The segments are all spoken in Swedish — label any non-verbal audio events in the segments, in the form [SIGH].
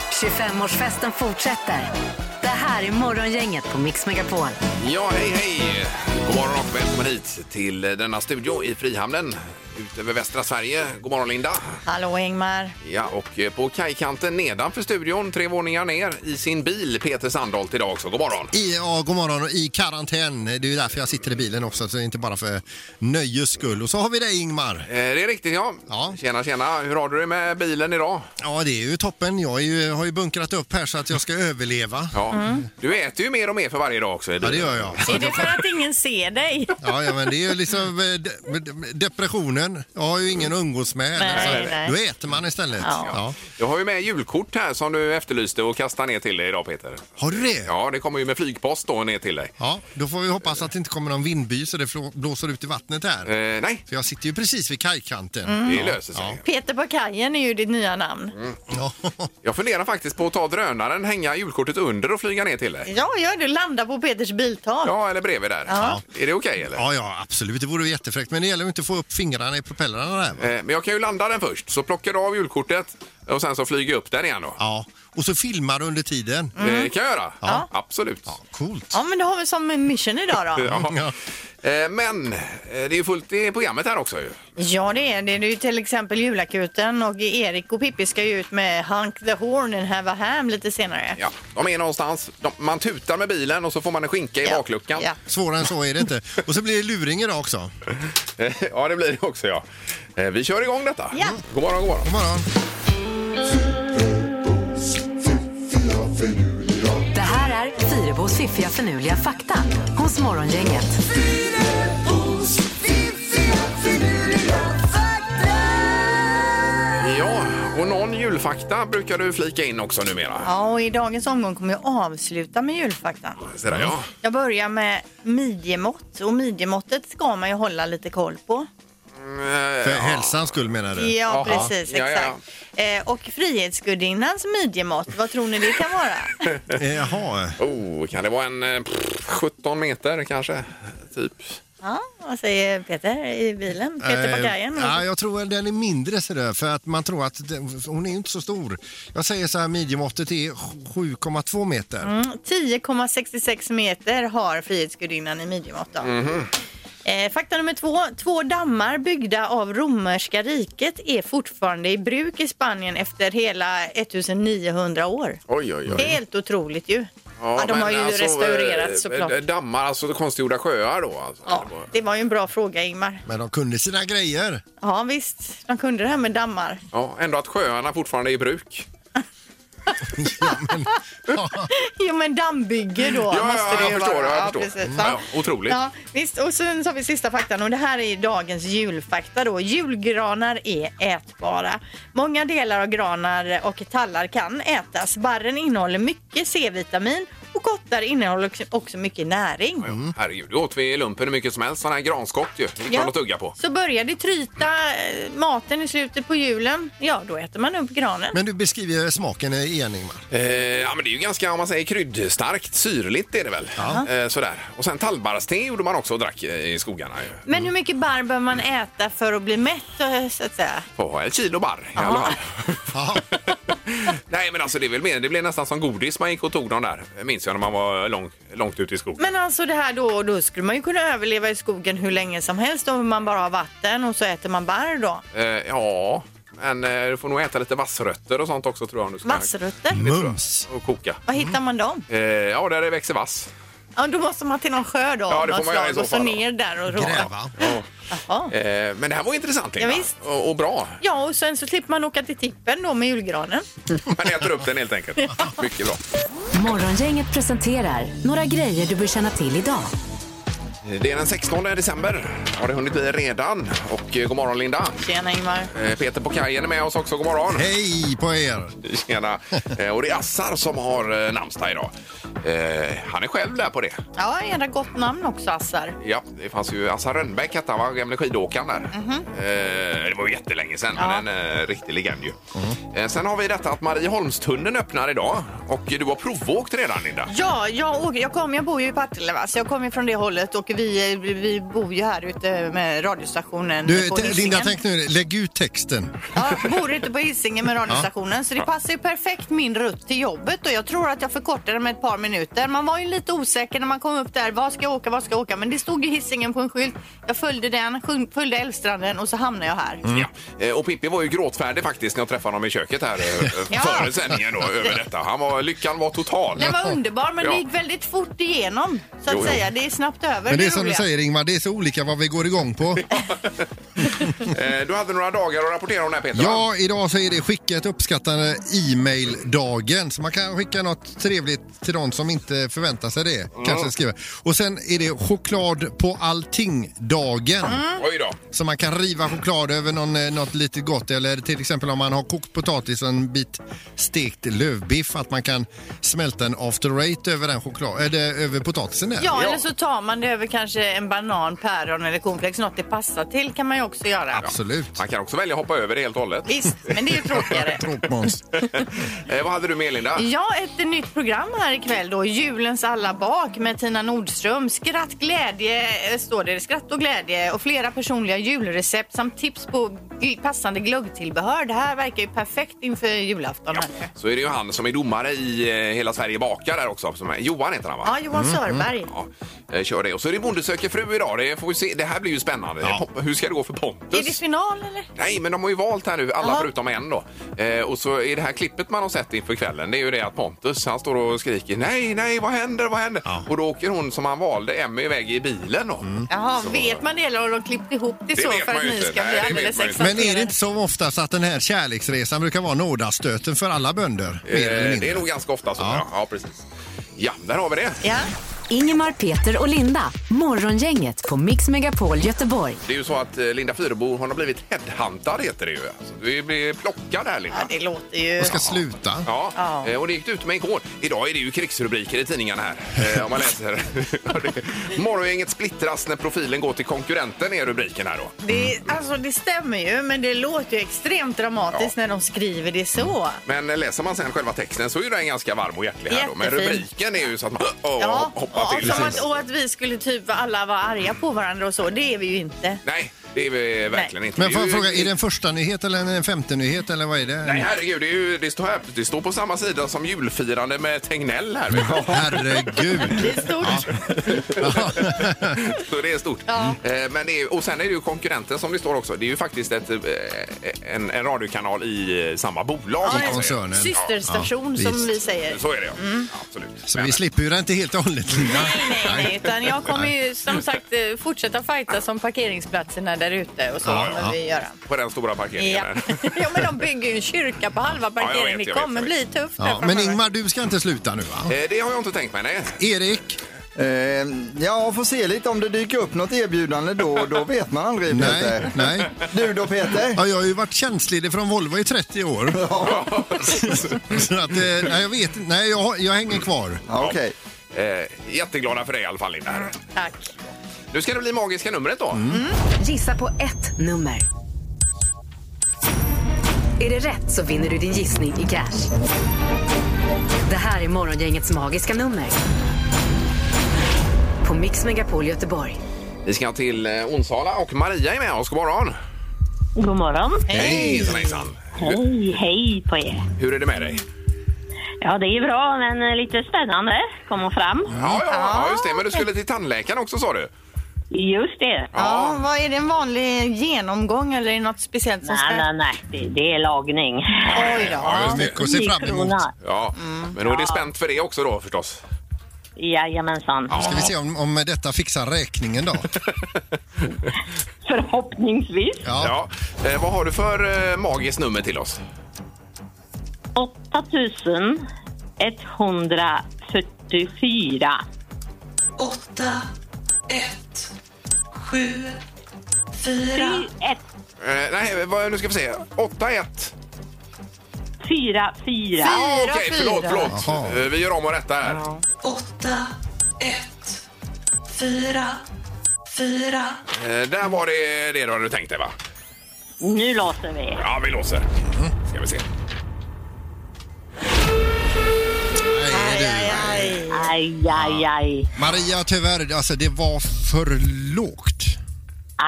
25-årsfesten fortsätter. Det här är Morgongänget på Mix Megapol. Ja, hej, hej! God morgon och välkommen hit till denna studio i Frihamnen utöver västra Sverige. God morgon, Linda! Hallå Ingmar. Ja, och eh, på kajkanten nedanför studion, tre våningar ner, i sin bil, Peter Sandholt idag också. God morgon! I, ja, god morgon och i karantän. Det är ju därför jag sitter i bilen också, så det är inte bara för nöjes skull. Och så har vi dig Ingmar. Eh, Det är riktigt, ja. Ja. Tjena, tjena! Hur har du det med bilen idag? Ja, det är ju toppen. Jag är ju, har ju bunkrat upp här så att jag ska överleva. Ja. Du äter ju mer och mer för varje dag också. i Mm. Ja, det bilen. gör jag. Är det för att ingen ser dig? Ja, ja men det är ju liksom eh, de- de- depressionen. Jag har ju ingen att umgås med. Nej, heller, så nej. Då äter man istället. Ja. Ja. Jag har ju med julkort här som du efterlyste och kastade ner till dig idag, Peter. Har du det? Ja, det kommer ju med flygpost då ner till dig. Ja, då får vi hoppas att det inte kommer någon vindby så det flå- blåser ut i vattnet här. Eh, nej, För jag sitter ju precis vid kajkanten. Mm. det löser sig. Peter på kajen är ju ditt nya namn. Ja. [LAUGHS] Jag funderar faktiskt på att ta drönaren, hänga julkortet under och flyga ner till dig. Ja, gör du. Landa på Peters biltak. Ja, eller bredvid där. Ja. Är det okej eller? ja, ja, absolut. Det vore jättefräckt. Men det gäller ju inte att få upp fingrarna i propellrarna där. Va? Eh, Men jag kan ju landa den först, så plockar du av julkortet och sen så flyger jag upp den igen då. Ja, och så filmar du under tiden. Mm. Eh, Det kan jag göra. Absolut. Ja. Coolt. Ja, men då har vi som mission idag [LAUGHS] då. Ja. Eh, Men eh, det är ju fullt i programmet här också ju. Ja, det är det. Det är ju till exempel julakuten och Erik och Pippi ska ju ut med Hunk the Horn and Have a Ham lite senare. Ja, de är någonstans. De, man tutar med bilen och så får man en skinka i bakluckan. Ja. Svårare än så är det inte. Och så blir det luring idag också. Eh, [LAUGHS] ja, det blir det också ja. Eh, Vi kör igång detta. Mm. Ja. God morgon, god morgon. God morgon. Det här är Fyrabos fiffiga förnuliga fakta hos Morgongänget. Ja, och någon julfakta brukar du flika in också numera. Ja, och i dagens omgång kommer jag avsluta med julfaktan. Så där, ja. Jag börjar med midjemått och midjemåttet ska man ju hålla lite koll på. Mm, eh, För hälsans skull menar du? Ja, Jaha. precis. Ja, ja, ja. Exakt. Eh, och Frihetsgudinnans midjemått, vad tror ni det kan vara? Eh, Jaha. Oh, kan det vara en eh, pff, 17 meter kanske? Typ. ja, vad säger Peter i bilen? Peter på Eh, kajen? ja, jag tror väl den är mindre ser du, för att man tror att den, hon är ju inte så stor. Jag säger så här, midjemåttet är 7,2 meter. Mm, 10,66 meter har Frihetsgudinnan i midjemått. då. Eh, fakta nummer två. Två dammar byggda av romerska riket är fortfarande i bruk i Spanien efter hela 1900 år. Oj, oj, oj. Helt otroligt ju. Ja, de men har ju alltså, eh, restaurerat såklart. eh, Dammar, alltså konstgjorda sjöar då? Alltså. Ja, det var ju en bra fråga Ingmar. Men de kunde sina grejer. Ja visst, de kunde det här med dammar. Ja, ändå att sjöarna fortfarande är i bruk. Jo men dammbygge då ja, måste ja, det jag ju förstår, vara. jag förstår. precis, Mm. va? Ja, otroligt. Ja, visst, och sen så har vi sista faktan och det här är dagens julfakta då. Julgranar är ätbara. Många delar av granar och tallar kan ätas. Barren innehåller mycket C-vitamin och kottar innehåller också- också mycket näring. Herregud, det åt vi i lumpen hur mycket som helst. Sådana här granskott ju. Det gick man att tugga på. Så börjar det tryta eh, maten i slutet på julen, ja då äter man upp granen. Men du beskriver smaken igen Ingmar. Eh, ja, men det är ju ganska, om man säger kryddstarkt, syrligt är det väl. Eh, sådär. Och sen tallbarrste gjorde man också och drack eh, i skogarna ju. Men hur mycket barr behöver man äta för att bli mätt eh, så att säga? Får ha ett kilo barr i alla fall. [LAUGHS] Ja. Nej, men alltså det är väl mer, det blev nästan som godis man gick och tog dem där. Det Minns jag när man var lång, långt ute i skogen. Men alltså det här då, då skulle man ju kunna överleva i skogen hur länge som helst om man bara har vatten och så äter man barr då. Eh, ja, men eh, du får nog äta lite vassrötter och sånt också tror jag. Om du ska Vassrötter, Mums. Och koka. var hittar man dem? Eh, ja, där det växer vass. Ja, då måste man till någon sjö då. Ja, det av något får man göra i slag, så Och så fall då. ner där och råda. Gräva. Jaha. Eh, men det här var intressant Linda. Ja, visst. Och, och bra. Ja, och sen så slipper man åka till tippen då med julgranen. Man äter upp den [LAUGHS] helt enkelt. Mycket bra. Morgongänget presenterar några grejer du bör känna till idag. Det är den 16 december. Har det hunnit bli redan. Och eh, god morgon Linda. Tjena Ingmar. Eh, Peter på kajen är med oss också. God morgon. Hej på er! Tjena. Eh, och det är Assar som har eh, namnsdag idag. Eh, han är själv där på det. Ja, jädra gott namn också Assar. Ja, det fanns ju Assar Rönnbäck hette han, var gamle skidåkaren där. Eh, det var ju jättelänge sedan, Mhm. Ja. Mhm. men en eh, riktig legend ju. Eh, sen har vi detta att Marieholmstunneln öppnar idag och du har provåkt redan Linda. Ja, jag, åker, jag, kom, jag bor ju i Partille va? så jag kommer från det hållet och vi, vi, vi bor ju här ute med radiostationen Du, på t- Linda, Hisingen. tänk nu, lägg ut texten. Ja, bor ute på Hisingen med radiostationen så det passar ju perfekt min rutt till jobbet och jag tror att jag förkortade med ett par minuter. Man var ju lite osäker när man kom upp där. Var ska jag åka? Var ska jag åka? Men det stod ju Hisingen på en skylt. Jag följde den, sjung- följde Älvstranden och så hamnade jag här. Ja. Eh, Och Pippi var ju gråtfärdig faktiskt när jag träffade honom i köket här [LAUGHS] eh, eh, Ja. före sändningen då, över detta. Han var, lyckan var total. Den var underbar men Ja. det gick väldigt fort igenom så att Jo, jo. säga. Det är snabbt över. Men det är det som du roliga. säger Ingmar, det är så olika vad vi går igång på. Eh, Du hade några dagar att rapportera om det här Peter. va? Ja, idag så är det skicka ett uppskattande e-mail-dagen. Så man kan skicka något trevligt till de som inte förväntar sig det. Kanske skriva. Och sen är det choklad på allting-dagen. Oj då. Så man kan riva choklad över någon, eh, något lite gott eller till exempel om man har kokt potatis och en bit stekt lövbiff att man kan smälta en after eight över, den choklad, eller, över potatisen där. Ja, Ja. eller så tar man det över kanske en banan, päron eller cornflakes. Något det passar till kan man ju också göra. Absolut. Man kan också välja att hoppa över det helt och hållet. Visst, men det är ju [LAUGHS] tråkigare. Tråkmåns. Eh, vad hade du med Linda? Ja, ett nytt program här ikväll då. Julens alla bak med Tina Nordström. Skratt, glädje eh, står det. Skratt och glädje och flera personliga julrecept samt tips på gl- passande glöggtillbehör. Det här verkar ju perfekt inför julafton. Ja. här nu. Så är det ju han som är domare i eh, Hela Sverige bakar där också. Som är, Johan heter han va? Ja, Johan mm. Sörberg. Ja, eh, kör det. Och så är det Bonde söker fru idag. Det, får vi se. det här blir ju spännande. Pop- Hur ska det gå för Är det Pontus? final eller? Nej, men de har ju valt här nu, alla Ja. förutom en då. Eh, och så är det här klippet man har sett inför kvällen, det är ju det att Pontus, han står och skriker nej, nej, vad händer, vad händer? Och då åker hon som han valde, Emmy, iväg i bilen då. Mm. Jaha, vet man det eller har de klippt ihop det, Det så vet för man att ju ni inte. ska Nej, bli det vet alldeles man ju inte. exalterade? Men är det inte som oftast att den här kärleksresan brukar vara nådastöten för alla bönder? Mer eller Eh, mindre. det är nog ganska ofta så. Ja. ja, precis. Ja, där har vi det. Ja. Ingemar, Peter och Linda. Morgongänget på Mix Megapol Göteborg. Det är ju så att eh, Linda Fyrebo, hon har blivit headhuntad heter det ju. Alltså, du blir plockad här Linda. ja, det låter ju... Jag ska sluta. Ja, Ja. eh, och det gick det ut med igår. Idag är det ju krigsrubriker i tidningarna här. eh, Om man läser. [LAUGHS] Ja, det- Morgongänget splittras när profilen går till konkurrenten är rubriken här då. Det, alltså, det stämmer ju, men det låter ju extremt dramatiskt Ja. när de skriver det så. Men eh, läser man sen själva texten så är ju den ganska varm och hjärtlig här då. Men Jättefin. rubriken är ju så att man oh, Ja, hoppar till. och, som att, och att vi skulle typ alla vara arga på varandra och så, det är vi ju inte. Nej, det är vi verkligen Nej. inte. Men Det får är jag ju- fråga, är det en första nyhet eller en femte nyhet eller vad är det? Nej, herregud, det, är ju, det, står här, det står på samma sida som julfirande med Tegnell här. Herregud. Det är stort. [LAUGHS] Så det är stort. Ja. Eh, Men det är, och sen är det ju konkurrenten som det står också. Det är ju faktiskt ett, eh, en, en radiokanal i eh, samma bolag. Ja, om man i säger. koncernen. Systerstation Ja, som vi visst. säger. Så är det, ja. Mm. Absolut. Så Men- vi slipper ju det inte helt och hållet Linda. Nej, nej, nej, utan jag kommer ju som sagt eh, fortsätta fighta som parkeringsplatserna där ute och så Ja, ja. kommer vi göra. På den stora parkeringen. Ja. [LAUGHS] ja, men de bygger ju en kyrka på halva jag parkeringen. vet, det jag vet, kommer jag vet. bli tufft där Ja, men framöver. Ingmar, du ska inte sluta nu va? [LAUGHS] Eh, Det har jag inte tänkt mig, nej. Erik? Eh, ja, får se lite om det dyker upp något erbjudande då. Då vet man aldrig Nej, Peter. nej. Du då Peter? Ja, jag har ju varit tjänstledig från Volvo i 30 år. [LAUGHS] Så att, eh, nej, jag vet inte. Nej, jag, jag hänger kvar. Ja, Okej. Eh, Jätteglada för dig i alla fall, Linda. Tack. Nu ska det bli magiska numret då. Mm. Gissa på ett nummer. Är det rätt så vinner du din gissning i cash. Det här är Morgongängets magiska nummer. På Mix Megapol Göteborg. Vi ska till eh, Onsala och Maria är med oss. God morgon! God morgon. Hejsan, hejsan! Hur, Hej, hej på er. hur är det med dig? Ja, det är bra, men eh, lite spännande. Kommer fram. Ja, ja, ja, just det. Men du skulle till tandläkaren också sa du? Just det. Ja, vad är det en vanlig genomgång eller är det något speciellt som Nej, ska... nej, nej. Det, det är lagning. Oj då. Ja, mycket att se fram emot. Krona. Ja, Mm. men då är det spänt för det också då förstås. Jajamensan. Ska vi se om, om detta fixar räkningen då? Förhoppningsvis. Ja. Ja. Eh, vad har du för eh, magiskt nummer till oss? 8144. 8, 1, 7, 4, 1, Eh, nej, vad, nu ska vi se. 81. 4, 4. Ah, Fyra, Okej, förlåt, fyra. förlåt. Jaha. Eh, Vi gör om och rätta här. 8, 1, 4, 4. Eh, där var det det du hade tänkt dig va? Nu låser vi. Ja, vi låser. Ska vi se. Nej, du. Aj, aj. Aj, aj, aj. Maria, tyvärr, alltså det var för lågt.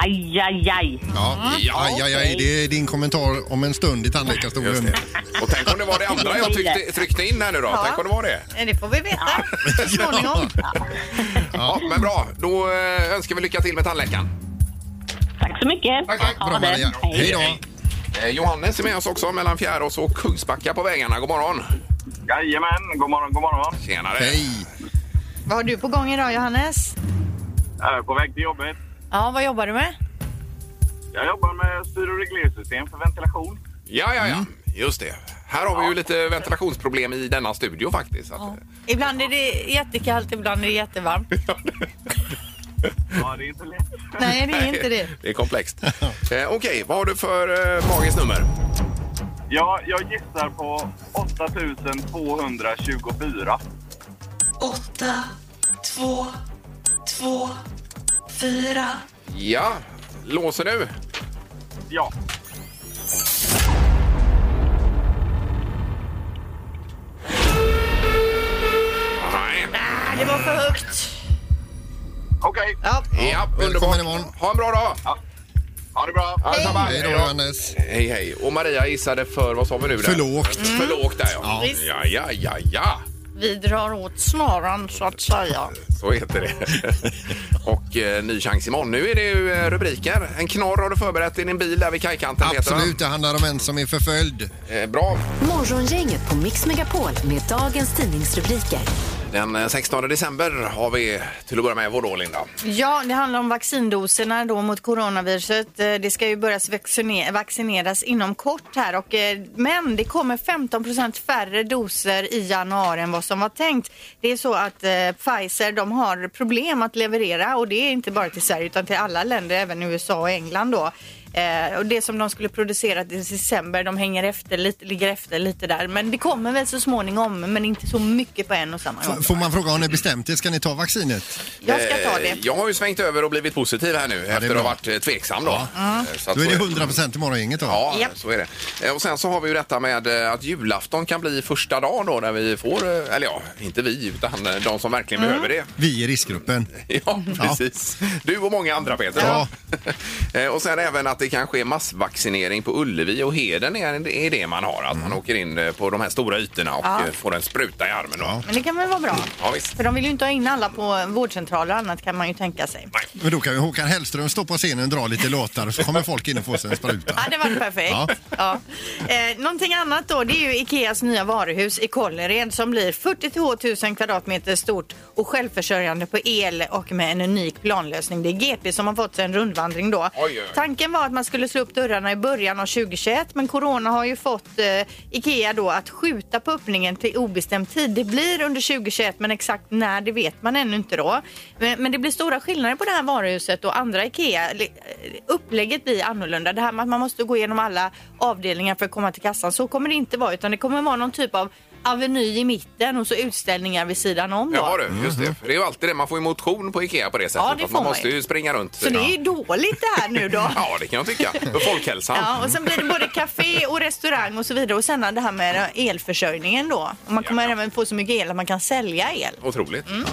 Aj, aj, aj. Mm. Ja, aj, aj, aj, det är din kommentar om en stund i Just tandläkarstolen. det. Och tänk om det var det andra jag tryckte, tryckte in här nu då. Tänk om det var det. Nej, Det får vi veta så småningom. Ja, men bra. Då eh, önskar vi lycka till med tandläkaren. Tack så mycket. Tack, tack. Ha Bra det. Maria. Hej då. Eh, Johannes är med oss också mellan Fjärås och Kungsbacka på vägarna. God morgon. Jajamän, god morgon, god morgon. Tjenare. Hej. Vad har du på gång idag Johannes? Jag är på väg till jobbet. Ja, vad jobbar du med? Jag jobbar med styr och reglersystem för ventilation. Ja, ja, ja. Just det. Här har vi ju lite ventilationsproblem i denna studio faktiskt. Så att, eh, Ibland är det jättekallt, ibland är det jättevarmt. Ja, det är inte lätt. [LAUGHS] [LAUGHS] Nej, det är inte det. [LAUGHS] Det är komplext. eh, Okej, vad har du för eh, magiskt nummer? Ja, jag gissar på 8224. åtta, två, två, fyra. Ja, låser nu. Ja, Nej. Ah, det var för högt. okej. Ja, välkommen underbart. imorgon. Ha en bra dag. Ha det bra. Allsamma. Hej då, Johannes. Hej, hej. Och Maria gissade för, vad sa vi nu? Där? För lågt. För lågt där ja. Visst. Ja, ja, ja, ja. Vi drar åt snaran så att säga. Så heter det. och eh, ny chans imorgon. Nu är det ju eh, rubriker. En knorr har du förberett i din bil där vid kajkanten. Peter, va? Absolut, det handlar om en som är förföljd. Eh, bra. Morgongänget på Mix Megapol med dagens tidningsrubriker. Den eh, 16 december har vi till att börja med vår då, Linda. Ja, det handlar om vaccindoserna då mot coronaviruset. Eh, Det ska ju börjas vaccine- vaccineras inom kort här och, eh, men det kommer 15 färre doser i januari än vad som var tänkt. Det är så att eh, Pfizer de har problem att leverera och det är inte bara till Sverige utan till alla länder, även USA och England då. Eh, och det som de skulle producera i december, de hänger efter lite, ligger efter lite där. Men det kommer väl så småningom, men inte så mycket på en och samma gång. F- Får man fråga om ni bestämt er? Ska ni ta vaccinet? Jag ska ta Eh, det. Jag har ju svängt över och blivit positiv här nu efter att bra. Mm. ha varit eh, tveksam då. Eh, Så att Då är så det 100% i morgongänget då. Ja, Japp. så är det. Eh, Och sen så har vi ju detta med eh, att julafton kan bli första dagen då när vi får, eh, eller ja, inte vi utan eh, de som verkligen Mm. behöver det. [LAUGHS] Vi i riskgruppen. Ja, precis. Du och många andra Peter. Ja. [LAUGHS] Eh, och sen även att det kanske är massvaccinering på Ullevi och Heden är, är det man har. Att man Mm. åker in eh, på de här stora ytorna och Ja. eh, får en spruta i armen. Då. Ja. Ja. Men det kan väl vara bra? visst. För de vill ju inte ha in alla på vårdcentraler och annat kan man ju tänka sig. Men då kan ju Håkan Hellström stå på scenen och dra lite låtar så kommer folk in och får sig en spruta. Ja, det var perfekt. Ja. Ja. Eh, någonting annat då, det är ju Ikeas nya varuhus i Kållered som blir 42 000 kvadratmeter stort och självförsörjande på el och med en unik planlösning. Det är GP som har fått sig en rundvandring då. oj. Tanken var att man skulle slå upp dörrarna i början av 2021 men corona har ju fått eh, Ikea då att skjuta på öppningen till obestämd tid. Det blir under 2021 men exakt när det vet man ännu inte då. Men, men det blir stora skillnader på det här varuhuset och andra Ikea. Li- eh, Upplägget blir annorlunda. Det här med att man måste gå igenom alla avdelningar för att komma till kassan så kommer det inte vara utan det kommer vara någon typ av aveny i mitten och så utställningar vid sidan om då. Ja, du, just det. För det är ju alltid det. Man får ju motion på Ikea på det sättet. Mhm. Ja, det att får man man måste ju. ju springa runt. Så det är ju dåligt det här nu då. [LAUGHS] Ja, det kan jag tycka. För folkhälsan. Ja, och sen blir det både café och restaurang och så vidare. Och sen det här med elförsörjningen då. Och man kommer Ja. även få så mycket el att man kan sälja el. Otroligt. Mm.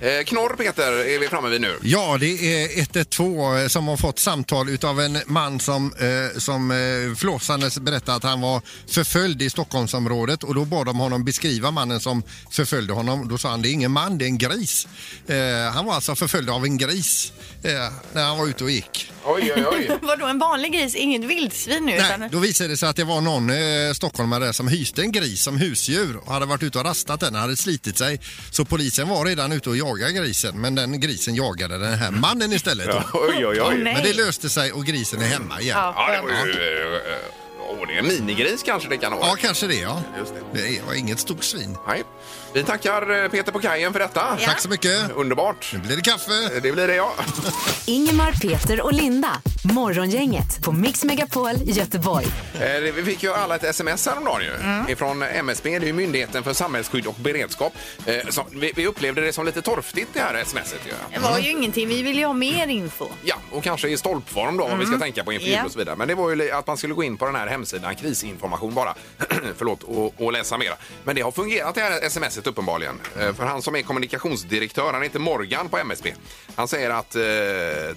Eh, knorr, Peter, är vi framme vid nu. Ja, det är 112 eh, som har fått samtal utav en man som, eh, som eh, flåsandes berättade att han var förföljd i Stockholmsområdet och då bad de honom beskriva mannen som förföljde honom. Då sa han det är ingen man, det är en gris. Eh, han var alltså förföljd av en gris eh, när han var ute och gick. Oj, oj, oj. Vadå, en vanlig gris? Inget vildsvin nu? Nej, då visade det sig att det var någon eh, stockholmare som hyste en gris som husdjur och hade varit ute och rastat den, hade slitit sig. Så polisen var redan ute och jagade grisen men den grisen jagade den här mannen istället. då. [LAUGHS] oj, oj, Åh, oj. nej. Men det löste sig och grisen är hemma igen. Ja, Ja, det var ju... eh, eh, Åh, det är en minigris kanske det kan vara. kanske det ja. Just det. Det var inget stort svin. Nej. Vi tackar eh, Peter på kajen för detta. Ja. Tack så mycket. Underbart. Nu blir det kaffe. Det blir det, ja. Ingemar, Peter och Linda. Morgongänget på Mix Megapol Göteborg. Eh, det- Vi fick ju alla ett sms häromdagen ju. Ifrån MSB, det är ju Myndigheten för samhällsskydd och beredskap. Eh, som, vi, vi upplevde det som lite torftigt det här smset ju. Det var ju ingenting. Vi vill ju ha mer info. Ja, och kanske i stolpform då om vi ska tänka på intervjuer Ja. och så vidare. Men det var ju li- att man skulle gå in på den här hemsidan, krisinformation bara, [CLEARS THROAT] förlåt, och, och läsa mera. Men det har fungerat det här smset uppenbarligen. Eh, För han som är kommunikationsdirektör, han heter Morgan på MSB. Han säger att eh,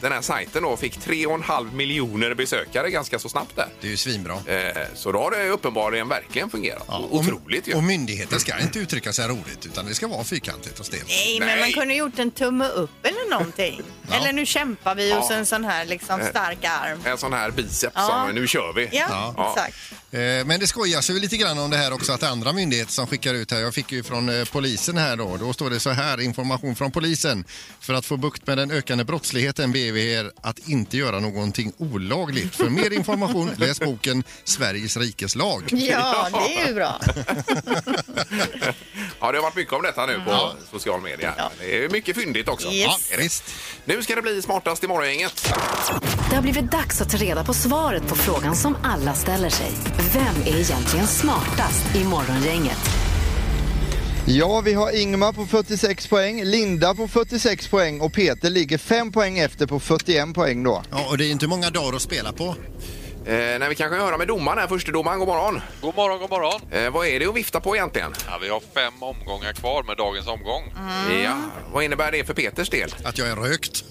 den här sajten då fick 3,5 miljoner besökare ganska så snabbt där. Det är ju svinbra. Eh, Så då har det uppenbarligen verkligen fungerat. Ja, och- Otroligt ju. Och myndigheten ska inte uttrycka sig roligt utan det ska vara fyrkantigt och stelt. Nej, men Nej. man kunde gjort en tumme upp eller någonting. Ja. Eller nu kämpar vi och Ja. Eh. så en sån här liksom stark arm. En sån här biceps Ja. som nu kör vi. Ja, Ja. exakt. Eh, Men det skojas ju lite grann om det här också att andra myndigheter som skickar ut här. Jag fick ju från eh, polisen här då. Då står det så här, information från polisen. För att få bukt med den ökande brottsligheten ber vi er att inte göra någonting olagligt. För mer information läs boken Sveriges rikes lag. Ja, det är ju bra. Ja, det har varit mycket om detta nu på social media. Det är mycket fyndigt också. Yes. Ja, visst. Nu ska det bli smartast i morgongänget. Det har blivit dags att ta reda på svaret på frågan som alla ställer sig. Vem är egentligen smartast i Morgongänget? Ja, vi har Ingmar på 46 poäng, Linda på 46 poäng och Peter ligger 5 poäng efter på 41 poäng då. Ja, och det är inte många dagar att spela på. Eh, när vi kanske höra med domaren här, förste domaren, god morgon. God morgon, god morgon. Eh, vad är det att vifta på egentligen? Ja, vi har fem omgångar kvar med dagens omgång. Mm. Mm. Ja, vad innebär det för Peters del? Typ Att jag är rökt.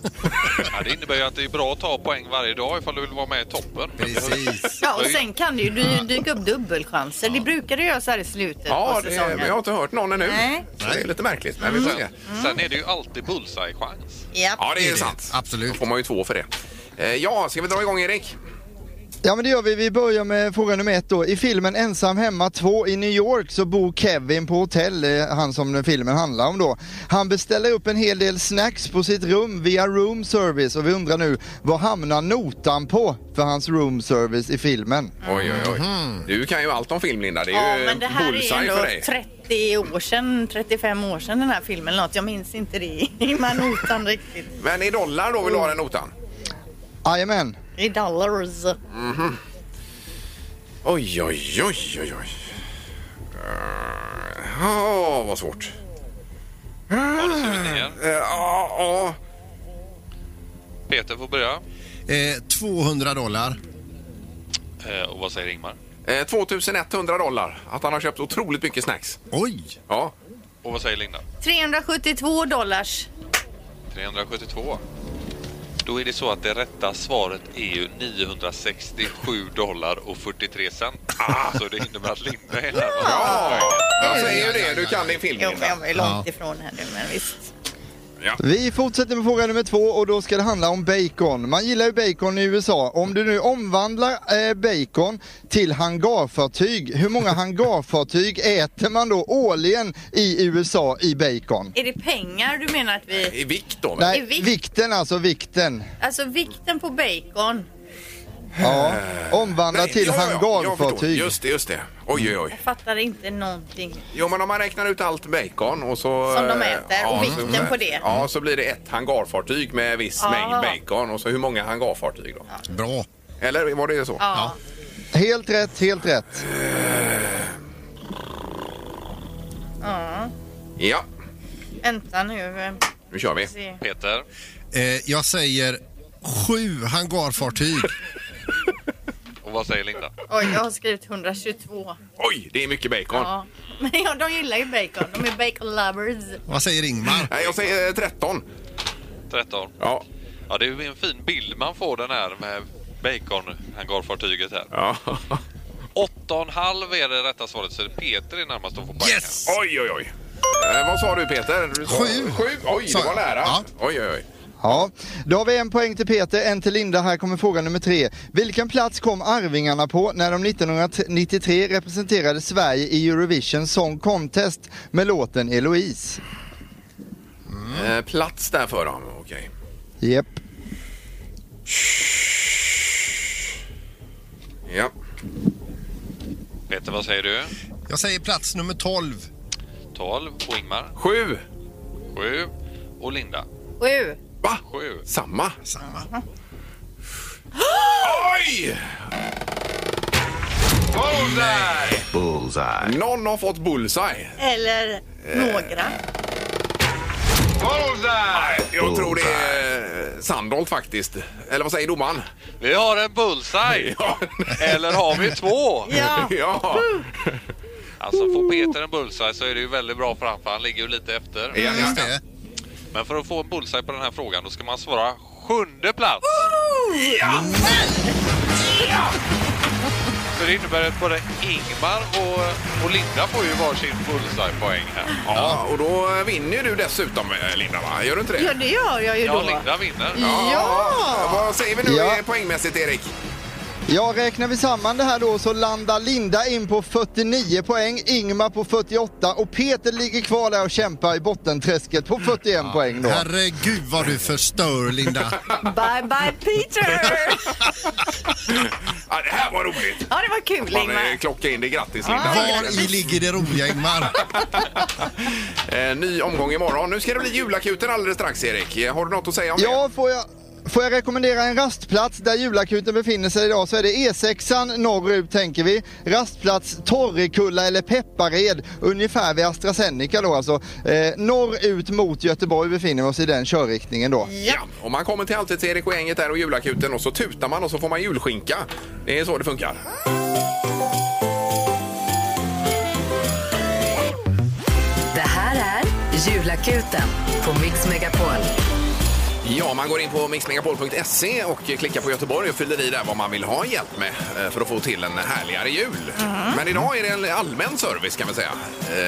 Ja, det innebär ju att det är bra att ta poäng varje dag ifall du vill vara med i toppen. Precis. Ja, och sen kan det ju dy- dyka upp dubbelchanser. Det brukar det göra så här i slutet Ja, på det, men säsongen. jag har inte hört någon ännu. Nej. Mm. Så Det är lite märkligt, men vi får se. Sen är det ju alltid bullseye-chans. Japp. Ja, det är, [LAUGHS] Det är sant. det, absolut. Då får man ju två för det. Eh, ja, ska vi dra igång Erik? Ja men det gör vi, vi börjar med fråga nummer ett då. I filmen Ensam hemma 2 i New York så bor Kevin på hotell, eh, han som den filmen handlar om då. Han beställer upp en hel del snacks på sitt rum via room service och vi undrar nu, vad hamnar notan på för hans room service i filmen? Oj, oj, oj. Du kan ju allt om film, Linda. Det är Ja, ju men det här är ju bullseye för dig. ändå 30 år sedan, 35 år sedan den här filmen eller något. Jag minns inte det i [LAUGHS] man notan riktigt. Men i dollar då vill du ha den notan? Jajamän. I dollars. Oj, oj, oj, oj, oj. Eh, Ja, vad svårt. Har du skrivit ner? Eh, Ja, ja. Peter får börja. Eh, 200 dollar. Eh, och vad säger Ingmar? Eh, 2100 dollar. Att han har köpt otroligt mycket snacks. Oj! Ja. Och vad säger Linda? 372 dollars. 372. Då är det så att det rätta svaret är ju 967 dollar och 43 cent. Så det innebär att Linda är närmast. Ja, jag säger ju det. Du kan din film, Jo, men jag Linda. var ju långt ifrån här nu, men visst. Vi fortsätter med fråga nummer två och då ska det handla om bacon. Man gillar ju bacon i USA. Om du nu omvandlar eh, bacon till hangarfartyg, hur [LAUGHS] många hangarfartyg äter man då årligen i USA i bacon? Är det pengar du menar att vi... I vikt då? Nej, I vikt. vikten alltså, vikten. Alltså vikten på bacon. Ja, omvandla Äh. Nej, till ja, ja, jag förstår. hangarfartyg. Just det, just det. Oj, oj, oj. Jag fattar inte någonting. Jo, men om man räknar ut allt bacon och så... Som de eh, äter och vikten så, på det. Ja, så blir det ett hangarfartyg med viss Ah. mängd bacon. Och så hur många hangarfartyg då? Bra. Eller var det så? Ja. Helt rätt, helt rätt. Ja, Vänta nu. nu kör vi. Se. Peter, Eh, jag säger sju hangarfartyg. och vad säger Linda? Oj, jag har skrivit 122. Oj, det är mycket bacon. Ja. Men ja, de gillar ju bacon. De är bacon lovers. Vad säger Ingmar? Nej, jag säger eh, 13. 13. Ja. Ja, det är ju en fin bild man får den här med bacon-hangarfartyget här. ja. 8,5 är det rätta svaret, så Peter är närmast att få poäng. Yes! [LAUGHS] Oj, oj, oj. Eh, vad sa du Peter? Du sa... Sju. Sju? Oj, Sa det var jag. nära. Ja. Oj, oj, oj. Ja, då har vi en poäng till Peter, en till Linda. Här kommer fråga nummer tre. Vilken plats kom Arvingarna på när de 1993 representerade Sverige i Eurovision Song Contest med låten Eloise? Mm. Eh, plats där för dem. Okej. Jep. Ja. Här. Peter, vad säger du? Jag säger plats nummer 12. 12 och Ingmar Sju. 7 och Linda Sju. Va? 7. Samma? Samma. Oj! Bullseye! Bullseye. Någon har fått bullseye. Eller några. Bullseye! Jag tror det är Sandholt faktiskt. Eller vad säger domaren? Vi har en bullseye! Ja. Eller har vi två? Ja. [LAUGHS] ja. Alltså får Peter en bullseye så är det ju väldigt bra för han, för han ligger ju lite efter. Ja, Just ja. det. Men för att få en bullseye på den här frågan då ska man svara sjunde plats. Så det innebär att både Ingmar och, och Linda får ju varsin bullseye-poäng här. Ja, och då vinner ju du dessutom, eh, Linda. Va? Gör du inte det? ja, det gör jag ju Ja, då. Linda vinner. Mm. Ja! Vad säger vi nu Ja. eh, poängmässigt, Erik? Ja, räknar vi samman det här då så landar Linda in på 49 poäng, Ingmar på 48 och Peter ligger kvar där och kämpar i bottenträsket på 41 poäng då. Herregud vad du förstör Linda. Bye, bye Peter! Ja, det här var roligt! [LAUGHS] ja, det var kul Man eh, Ingmar. klockar in det. Grattis, Linda! Var i ligger det roliga Ingmar? Eh, ny omgång imorgon. Nu ska det bli julakuten alldeles strax, Erik. Eh, Har du något att säga om Ja, får jag, får jag rekommendera en rastplats där julakuten befinner sig idag så är det E6 norrut tänker vi. Rastplats Torrekulla eller Peppared, ungefär vid AstraZeneca då alltså. Eh, norrut mot Göteborg befinner vi oss i den körriktningen då. det? Ja. Och man kommer till alltid till Erik och gänget där och julakuten och så tutar man och så får man julskinka. Det är så det funkar. Det här är Julakuten på Mix Megapol. Ja, man går in på mixmegapol.se och klickar på Göteborg och fyller i där vad man vill ha hjälp med eh, för att få till en härligare jul. Mm. Men idag är det en allmän service kan man säga.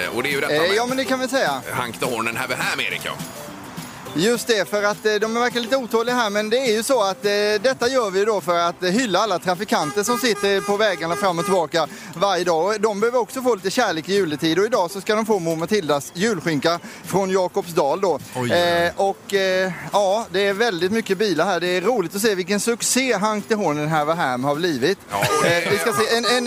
Eh, Och det är ju detta Eh, med ja, men det kan vi säga. Hank the Hornen här här Erik. Ja. Just det, för att eh, de verkar lite otåliga här men det är ju så att eh, detta gör vi då för att eh, hylla alla trafikanter som sitter på vägarna fram och tillbaka varje dag. Och De behöver också få lite kärlek i juletid och idag så ska de få Mor Matildas julskinka från Jakobsdal då. Oj. Eh, och eh, ja, det är väldigt mycket bilar här. Det är roligt att se vilken succé Hank the Hornen här var här har blivit. Ja, och det- Eh, vi ska se, en, en,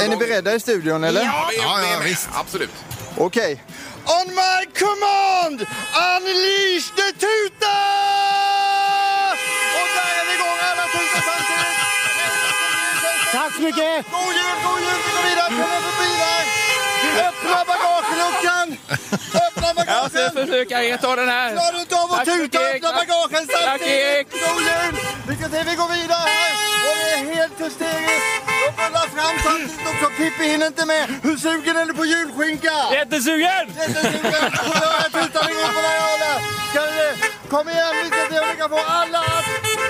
är ni beredda i studion eller? vi, Ja, vi är ja, med. visst. Absolut. Okej. On my command, unleash the tuta! Och där är vi igång alla tutor samtidigt! Tack så mycket! God jul, god jul! Vi går vidare, kommer förbi där! Öppna bagageluckan! Öppna bagagen! försöka jag ta den här. Klarar du inte av att Tack så tuta, mycket, öppna tack. bagagen Tack, Erik. samtidigt! God jul! Vi ska se, vi går vidare här! Och det är helt hysteriskt! De rullar fram samtidigt också, Pippi hinner inte med! Hur sugen är du på julskinka? Jättesugen! Kom igen, lycka till, lycka på alla! att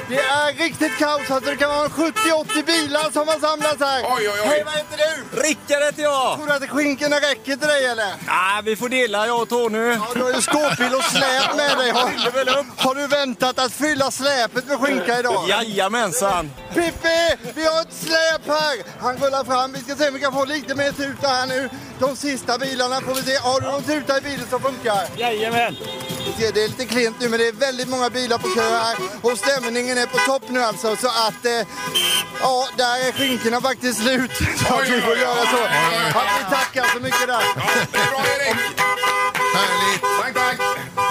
Det är riktigt kaos, alltså det kan vara 70-80 bilar som har samlats här. Oj, oj, oj. Hej, vad heter du? Rickard heter jag! Tror du att skinkorna räcker till dig eller? Ah, vi får dela jag och Tony. Ja, du har ju skåpbil och släp med dig. Har, har du väntat att fylla släpet med skinka idag? Jajamensan! Pippi, vi har ett släp här! Han rullar fram. Vi ska se om vi kan få lite mer tuta här nu. De sista bilarna får vi se. Har du någon tuta i bilen som funkar? Jajamän! Vi ser, Det är lite klent nu men det är väldigt många bilar på kö här och stämningen är på topp nu alltså så att eh, ja, där är skinkorna faktiskt slut. [LAUGHS] Så att vi får göra så. Att vi tackar så mycket där. Ja, det är bra Erik. Härligt. Tack, tack.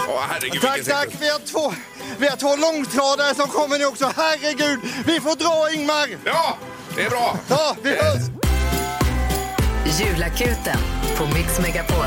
Åh, herregud, Tack, vilken tack. sikt. Vi har två, vi har två långtradare som kommer nu också. Herregud, vi får dra Ingmar. Ja, det är bra. Ja, vi hörs. Julakuten på Mix Megapol.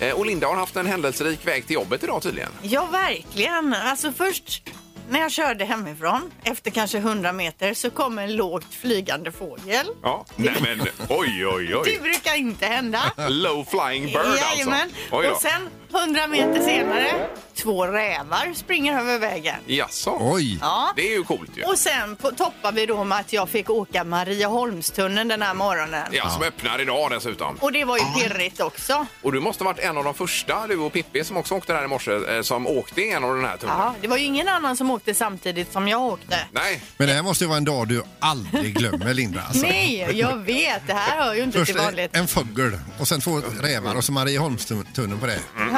Eh, Och Linda har haft en händelserik väg till jobbet idag tydligen. Ja, verkligen. Alltså först när jag körde hemifrån, efter kanske 100 meter, så kom en lågt flygande fågel. Ja. Nej men, oj, oj, Det oj. brukar inte [LAUGHS] hända. Low flying bird Jajamän. alltså. Oj då. Och sen 100 meter senare, två rävar springer över vägen. Jaså? Oj. Ja. Det är ju coolt ju. Och sen på, toppar vi då med att jag fick åka Marieholmstunneln den här morgonen. Ja, som öppnar idag dessutom. Och det var ju pirrigt också. Och du måste ha varit en av de första, du och Pippi som också åkte där i morse, eh, som åkte igenom den här tunneln. Ja, det var ju ingen annan som åkte samtidigt som jag åkte. Nej, Men det här måste ju vara en dag du aldrig glömmer Linda. [LAUGHS] Alltså. Nej, jag vet. Det här hör ju inte Först till vanligt. en fågel och sen två rävar och så Marieholmstunneln på det. Ja, Mm.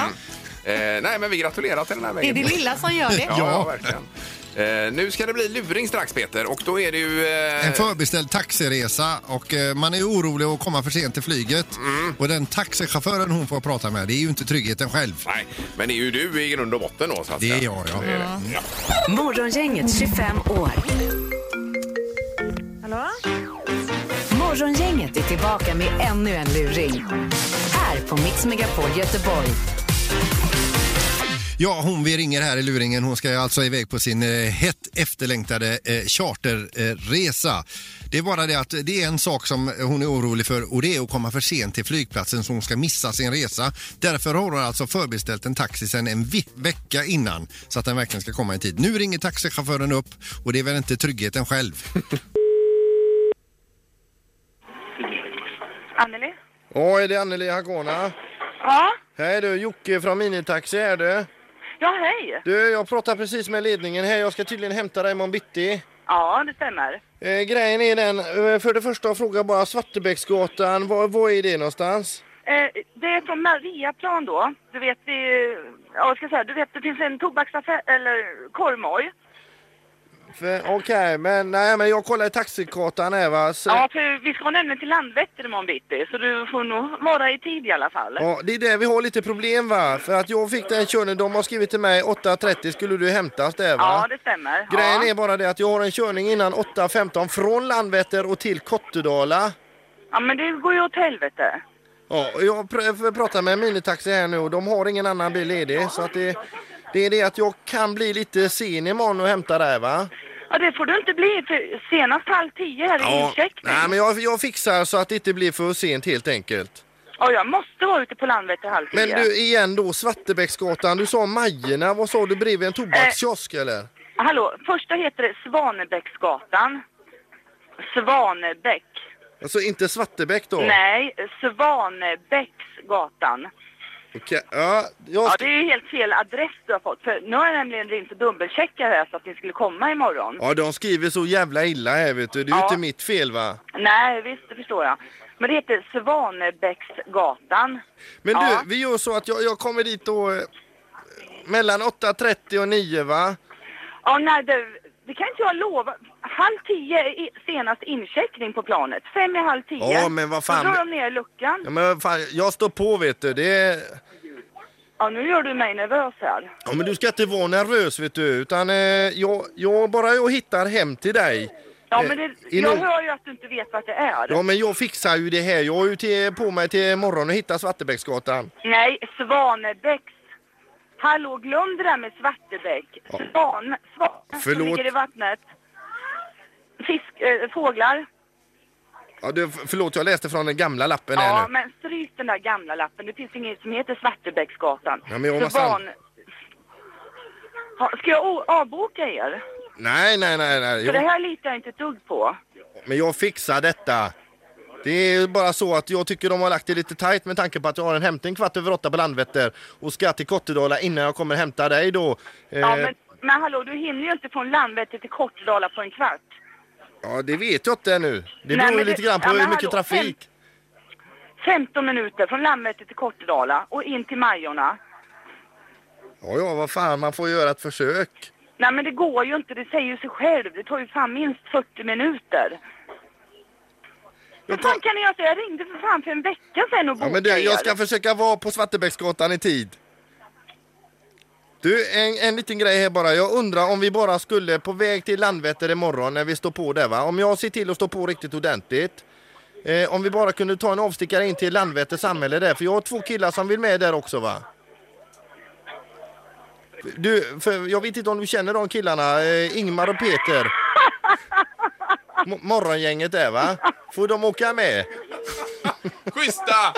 eh, nej men vi gratulerar till den här Det är vägen. det lilla som gör det. Ja, ja. verkligen. Eh, nu ska det bli luring strax Peter och då är det ju... eh, En förbeställd taxiresa och eh, man är orolig att komma för sent till flyget. Och den taxichauffören hon får prata med, det är ju inte tryggheten själv. Nej, men det är ju du i grund och botten då så att Det är säga. jag, ja. Det är det. ja. Morgongänget 25 år. Hallå? Morgongänget är tillbaka med ännu en luring. Här på Mix Megapol Göteborg. Ja, hon vi ringer här i luringen, hon ska alltså iväg på sin eh, hett efterlängtade eh, charterresa. Det är bara det att det är en sak som hon är orolig för och det är att komma för sent till flygplatsen så hon ska missa sin resa. Därför har hon alltså förbeställt en taxi sedan en vi- vecka innan så att den verkligen ska komma i tid. Nu ringer taxichauffören upp och det är väl inte tryggheten själv. Anneli? Ja, är det Anneli Hagona? Ja? Hej du, Jocke från Minitaxi här du. Ja, hej! Du, jag pratade precis med ledningen här. Jag ska tydligen hämta dig imorgon bitti. Ja, det stämmer. Eh, grejen är den, eh, för det första fråga bara Svartebäcksgatan, var, var är det någonstans? Eh, det är från Mariaplan då. Du vet, vi... Ja, vad ska jag säga? Du vet, det finns en tobaksaffär, eller korvmoj. För- Okej, men nej men jag kollar i taxikartan här va. Så, Ja, för vi ska nämligen till Landvetter imorgon bitti, så du får nog vara i tid i alla fall. Ja, det är där vi har lite problem va. För att jag fick den körningen, de har skrivit till mig 8.30 skulle du hämtas där va. Ja, det stämmer. Grejen ja. är bara det att jag har en körning innan 8.15 från Landvetter och till Kottedala. ja, men det går ju åt helvete. Ja, och jag pr- pratar med en minitaxi här nu och de har ingen annan bil ledig. Så att det, det är det att jag kan bli lite sen imorgon och hämta dig va? Ja, det får du inte bli, för senast halv tio här är incheckning. nej men jag, jag fixar så att det inte blir för sent helt enkelt. Ja, jag måste vara ute på Landvetter halv tio. Men du igen då, Svartebäcksgatan, du sa Majerna, vad sa du bredvid en tobakskiosk Eh. eller? Hallå, första heter det Svanebäcksgatan. Svanebäck. Alltså inte Svartebäck då? Nej, Svanebäcksgatan. Okej, ja, jag Ja, ska... det är ju helt fel adress du har fått. För nu har jag nämligen ringt och dubbelcheckat här så att ni skulle komma imorgon. ja, de skriver så jävla illa här vet du, det är ju Ja. inte mitt fel va? Nej, visst, det förstår jag. Men det heter Svanebäcksgatan. Men du, Ja. vi gör så att jag, jag kommer dit då eh, mellan 8.30 och 9 va? Ja, nej, det, det kan inte jag lova. Halv tio är i- senast incheckning på planet. Fem i halv tio. Ja, men vad fan. Då drar de ner luckan. Ja, men vad fan, jag står på vet du. Det är... Ja, nu gör du mig nervös här. Ja men du ska inte vara nervös vet du. Utan eh, jag, jag bara jag hittar hem till dig. Ja, eh, men det, i jag Nor- hör ju att du inte vet vad det är. Ja men jag fixar ju det här. Jag har ju till, på mig till imorgon och hittar Svartebäcksgatan. Nej, Svanebäcks. Hallå, glöm det där med Svartebäck. Svan, svan som Förlåt. ligger i vattnet. Fisk, eh, fåglar. Ja, du, f- förlåt jag läste från den gamla lappen här Ja, nu. men stryk den där gamla lappen. Det finns inget som heter Svartebäcksgatan. Ja, men jag måste an- Ha, Ska jag o- avboka er? Nej nej nej nej. För det Jag, här litar jag inte ett dugg på. men jag fixar detta. Det är bara så att jag tycker de har lagt det lite tajt med tanke på att jag har en hämtning kvart över åtta på Landvetter och ska till Kottedala innan jag kommer hämta dig då. Ja, Eh, men, men hallå, du hinner ju inte från Landvetter till Kortedala på en kvart. Ja, det vet jag inte ännu. Det Nej, beror ju men det- lite grann på ja, men hur mycket hallå, trafik. 15 minuter från Landvetter till Kortedala och in till Majorna. Ja, ja, vad fan, man får göra ett försök. Nej men det går ju inte, det säger ju sig själv. Det tar ju fan minst 40 minuter. Vad fan kan ni göra så? Jag ringde för fan för en vecka sedan och Ja, bokade men det, jag er. ska försöka vara på Svartebäcksgatan i tid. Du, en, en liten grej här bara. Jag undrar om vi bara skulle på väg till Landvetter imorgon när vi står på där va? Om jag ser till att stå på riktigt ordentligt. Eh, om vi bara kunde ta en avstickare in till Landvetter samhälle där, för jag har två killar som vill med där också va? Du, för jag vet inte om du känner de killarna, eh, Ingmar och Peter. M- morgongänget där va? Får de åka med? Schyssta!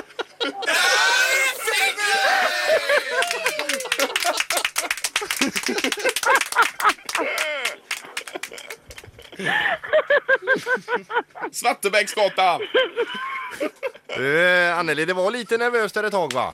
Svartebäcksgatan! Eh, Anneli, det var lite nervöst där ett tag va?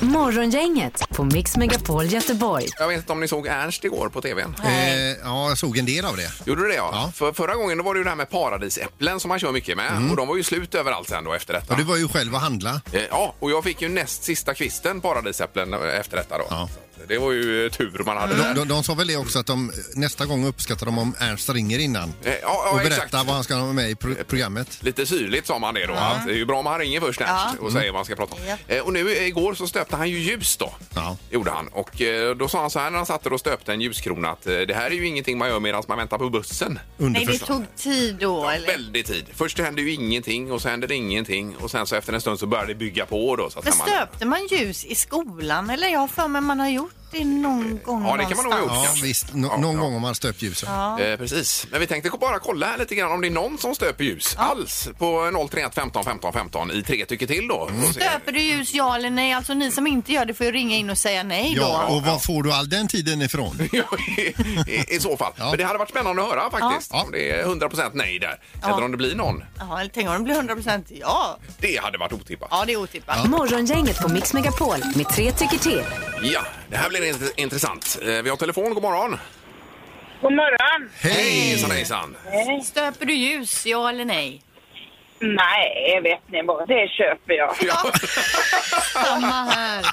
Morgongänget på Mix Megapol Göteborg. Jag vet inte om ni såg Ernst igår på tvn? Eh, ja, jag såg en del av det. Gjorde du det ja? För förra gången då var det ju det här med paradisäpplen som man kör mycket med och de var ju slut överallt sen då efter detta. Ja, du Mm. var ju själv och handla. Eh, Ja, och jag fick ju näst sista kvisten paradisäpplen eh, efter detta då. Så att, Det var ju eh, tur man hade De, där. de, de sa väl det också att de nästa gång uppskattar de om Ernst ringer innan Eh, ja, ja, och berättar exakt. vad han ska ha med i pro- programmet. Lite syrligt sa man det då. Att det är ju bra om han ringer först Ernst Ja. Mm. och säger vad han ska prata om. Ja. Eh, Och nu eh, igår så stöpte han ju ljus då. Gjorde han. Och eh, då sa han så här när han satt där och stöpte en ljuskrona att eh, det här är ju ingenting man gör medan man väntar på bussen. Nej, det tog tid då. eller? Väldigt tid. Först hände ju ingenting och så hände det ingenting och sen så efter en stund så började det bygga på då. Så att Men man- stöpte man ljus i skolan? Eller jag har för mig man har gjort det någon gång Ja, det kan man nog ha gjort någonstans. kanske. Visst, no, någon gång har man stöpt ljusen. Ja. Eh, precis. Men vi tänkte bara kolla här lite grann om det är någon som stöper ljus alls på 031 15 15 15 i tre tycker till då. Och se- [LAUGHS] Stöper du ljus ja eller nej? Alltså ni som inte gör det får ju ringa in och säga nej Ja, då. och var får du all den tiden ifrån? I, I så fall. Men det hade varit spännande att höra faktiskt om det är 100% nej där. Ja. Eller om det blir någon. Ja, eller tänk om det blir 100% ja. Det hade varit otippat. Ja, det är otippat. Morgongänget på Mix Megapol med tre tycker till. Ja, det här blir int- intressant. Eh, Vi har telefon, god morgon. God morgon. Hej! Hejsan hejsan. Stöper du ljus, ja eller nej? Nej, vet ni vad? Det köper jag. Samma här.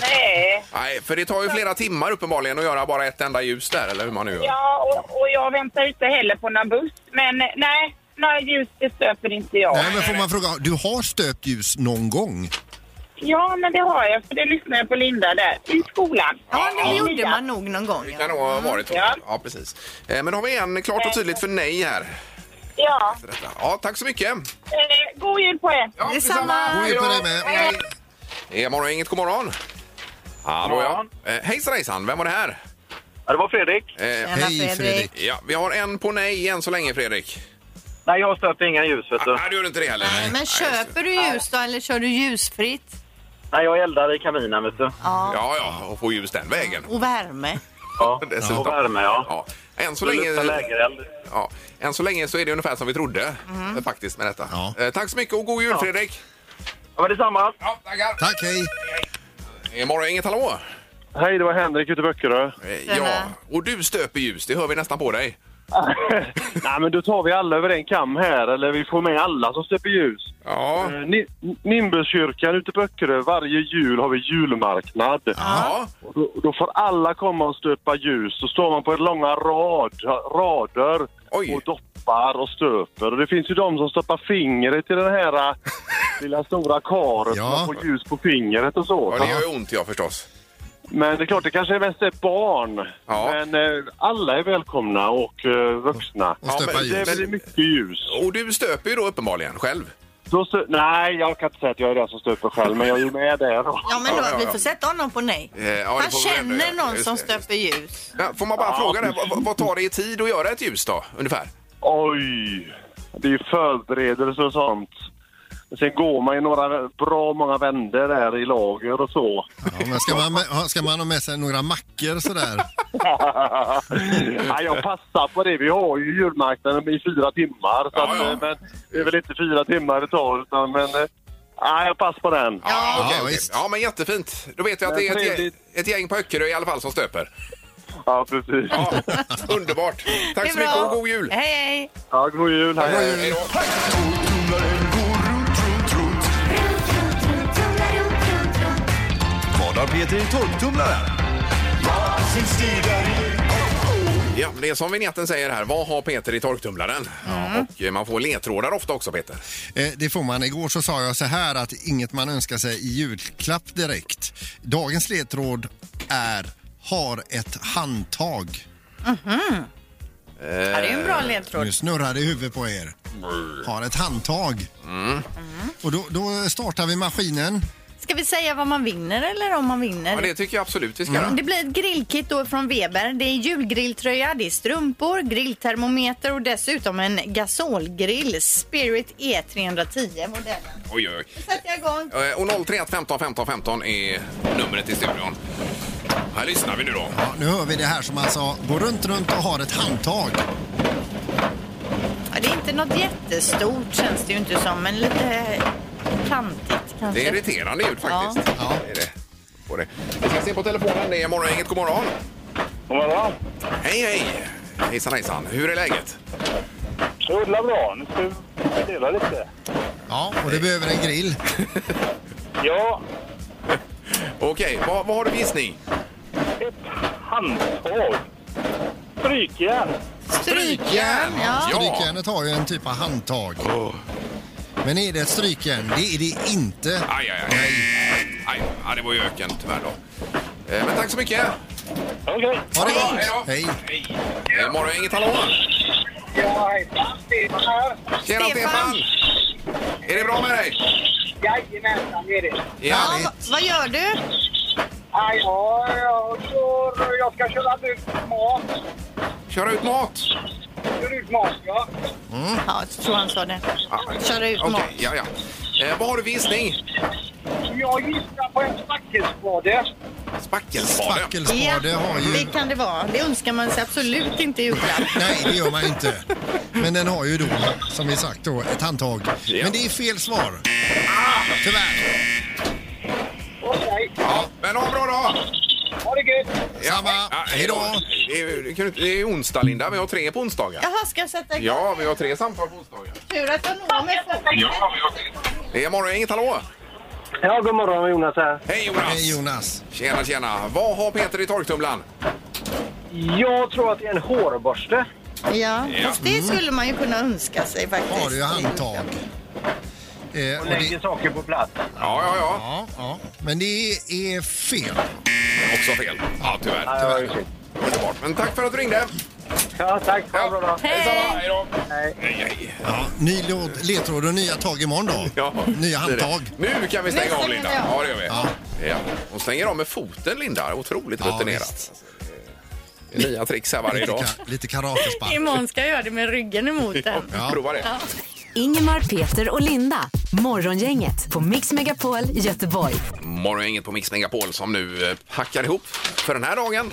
Nej. Nej, för det tar ju flera timmar uppenbarligen att göra bara ett enda ljus där, eller hur man nu gör. Ja, och, och jag väntar inte heller på någon buss. Men eh, nej, några ljus det stöper inte jag. Nej, men får man fråga, du har stöpt ljus någon gång? Ja, men det har jag. För det lyssnar jag på Linda där. I skolan. Ja, det gjorde man nog någon gång. Det kan nog ha varit så. Mm. Ja. precis. Eh, Men då har vi en klart och tydligt för nej här. Ja. För detta. Ja, tack så mycket. Eh, god jul på er! Ja, detsamma. God jul på dig med. Hej. Eh, Morgon, inget god morgon. Hallå ja. Eh, Hejsan hejsan, vem var det här? Ja, det var Fredrik. Eh, Tjena, alltså, Hej, Fredrik. Fredrik. Ja, vi har en på nej än så länge Fredrik. Ah, Nej, jag stöpte inga ljus, vet du. Nej, du gjorde inte det heller. Men köper du ljus då eller kör du ljusfritt? Nej, jag eldar i kaminen, vet du. Ja. Ja, ja, och får ljus den vägen. Och värme? Ja, [LAUGHS] Dessutom. och värme, ja. Än så Det länge... luktar lägereld. Ja, än så länge så är det ungefär som vi trodde Mm. eh, faktiskt med detta. Eh, tack så mycket och god jul Fredrik! Ja, men detsamma! Ja, tackar! Tack, hej! Eh, Morgon, inget hallå! Hej, det var Henrik ute i Böckerö. Eh, Ja, och du stöper ljus, det hör vi nästan på dig. Nej, men då tar vi alla över en kam här, eller vi får med alla som släpper ljus. Eh, Ja. Nimbuskyrkan ute i Böckerö, varje jul har vi julmarknad. Ja. Då, då får alla komma och stöpa ljus. Då står man på ett långa rad, rader och doppar och stöper. Och det finns ju de som stoppar fingret i den [LAUGHS] här äh, lilla stora karet. Ja. Man får ljus på fingret och så. Ja, det gör ju ont ja förstås. Men det är klart, det kanske är mest är barn. Men eh, alla är välkomna och eh, vuxna. Ja, men det är väldigt mycket ljus. Och du stöper ju då uppenbarligen själv. Då stö- Nej, jag kan inte säga att jag är den som stöper själv, men jag är ju med där. då. Ja, men då, Ja, ja, vi ja. får sätta honom på nej. Eh, ja, det Han får vi ändå känner göra. någon Just som det. stöper ljus. Ja, får man bara Ja. fråga dig, vad, vad tar det i tid att göra ett ljus då, ungefär? Oj! Det är ju förberedelser och sånt. Men Sen går man ju några bra många vändor där i lager och så. Ja, men ska, man med, ha- ska man ha med sig några mackor sådär? ja, jag passar på det. Vi har ju julmarknaden i fyra timmar. Så att, eh, Men det är väl inte fyra timmar det tar, utan, men... eh, Ja, jag passar på den. Ja, okej, okej. ja, men jättefint. Då vet jag att Men det är ett, gäng- trevligt. ett gäng på Öckerö i alla fall som stöper. Ja, precis. Ja, underbart. Det Tack är så mycket bra. och god jul! Eh, Hej, hej! Ja, god jul! Hej, hej. Hej då. Vad har Peter i torktumlaren? Ja, det är som vignetten säger här. Vad har Peter i Mm. torktumlaren? Ja, och eh, man får ledtrådar ofta också, Peter. Eh, Det får man. Igår så sa jag så här att inget man önskar sig i julklapp direkt. Dagens ledtråd är har ett handtag. Mhm. Ja, det är ju en bra Eh, ledtråd. mm. Nu snurrar det i huvudet på er. Har ett handtag. Och då, då startar vi maskinen. Ska vi säga vad man vinner eller om man vinner? Ja, det tycker jag absolut vi ska Mm. Det blir ett grillkit då från Weber. Det är julgrilltröja, det är strumpor, grilltermometer och dessutom en gasolgrill Spirit E310 modellen. Oj, oj, Nu sätter jag igång. oj. Eh, Och 031 15 15 15 är numret i studion. Här lyssnar vi nu då. Ja, nu hör vi det här som alltså går runt, runt och har ett handtag. Ja, det är inte något jättestort känns det ju inte som, men lite kantigt kanske. Det är irriterande ljud faktiskt. Ja. Det är det. Får det. Vi ska se på telefonen. Det är morgongänget. God morgon! God morgon! Hej, hej! Hejsan, hejsan. Hur är läget? Det rullar bra. Nu ska vi dela lite. Ja, och det behöver en grill. Ja, Okej, vad, vad har du för gissning? Handtag. Strykjärn. Strykjärn! ja. Strykjärnet har ju en typ av handtag. Men är det ett strykjärn? Det är det inte. Aj, aj, aj. aj. Ja, det var ju öken tyvärr då. Eh, Men tack så mycket. Okej. Ha det bra. Hej då. Hej. Eh, Morgon, inget hallå? Ja, hejsan. Stefan här. Tjena Stefan! Är det bra med dig? Jajamensan, det är det. Ja. Vad gör du? Ja, ja, jag, kör, jag ska köra ut mat. Köra ut mat? Kör ut mat, ja. Ja, jag tror han sa det. Köra ut Okej, mat. ja, ja. Eh, vad har du för gissning? Jag gissar på en spackelspade. Spackelspade. Ja, Det kan det vara. Det önskar man sig absolut inte i julklapp. Nej, det gör man inte. Men den har ju då, som vi sagt, då, ett handtag. Men det är fel svar. Tyvärr. Okej. Ja, men ha en bra dag! Ha det gött! Samma! Ja, hej då! Det är, det kan du inte- det är onsdag Linda, vi har tre på onsdagar. Jaha, ska jag sätta igång? Ja, vi har tre samtal på onsdagar. Tur att jag når mig först. Det är morgon, inget hallå? Ja, god morgon Jonas här. Hej Jonas! Hej Jonas! Tjena, tjena! Vad har Peter i torktumlaren? Jag tror att det är en hårborste. Ja, Ja. fast det skulle man ju kunna önska sig faktiskt. Har du ju handtag. Eh, och det, saker på plats. Ja, ja, ja. ja, ja. Men det är fel. Också fel. Ja, tyvärr. Ja, tyvärr. Underbart. Men tack för att du ringde. Ja, tack. Ha en bra dag. Hej! Hej då! Hej. Hej, Ja, ny låt- ledtråd och nya tag imorgon då. Nya det är det. handtag. Nu kan vi stänga Nu av stänger Linda. vi av. Ja, det gör vi. Ja. Hon stänger av med foten Linda. Otroligt Ja, rutinerat. Det är Nya tricks här varje Lite, dag. ka- lite karatespark. Imorgon ska jag göra det med ryggen emot den. Ja. Prova det. Ja. Ingemar, Peter och Linda. Morgongänget på Mix Megapol Göteborg. Morgongänget på Mix Megapol som nu eh, packar ihop för den här dagen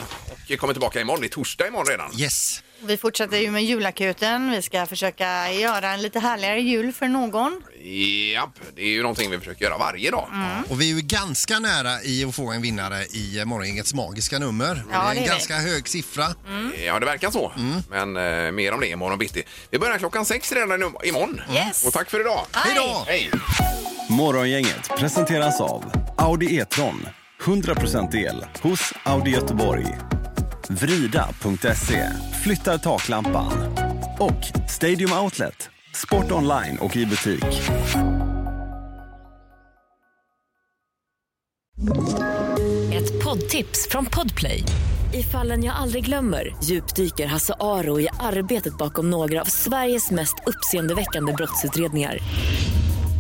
och kommer tillbaka imorgon. Det är torsdag imorgon redan. Yes. Vi fortsätter ju med julakuten. Vi ska försöka göra en lite härligare jul för någon. Japp, det är ju någonting vi försöker göra varje dag. Och vi är ju ganska nära i att få en vinnare i eh, Morgongängets magiska nummer. Ja, det är det är en vi. Mm. ganska hög siffra. Ja, det verkar så. Men eh, mer om det imorgon bitti. Vi börjar klockan sex redan im- imorgon. Yes. Och tack för idag. Hej då! Hej! Morgongänget presenteras av Audi E-tron. 100% el hos Audi Göteborg. Vrida.se flyttar taklampan. Och Stadium Outlet. Sport online och i butik. Ett poddtips från Podplay. I fallen jag aldrig glömmer djupdyker Hasse Aro i arbetet bakom några av Sveriges mest uppseendeväckande brottsutredningar.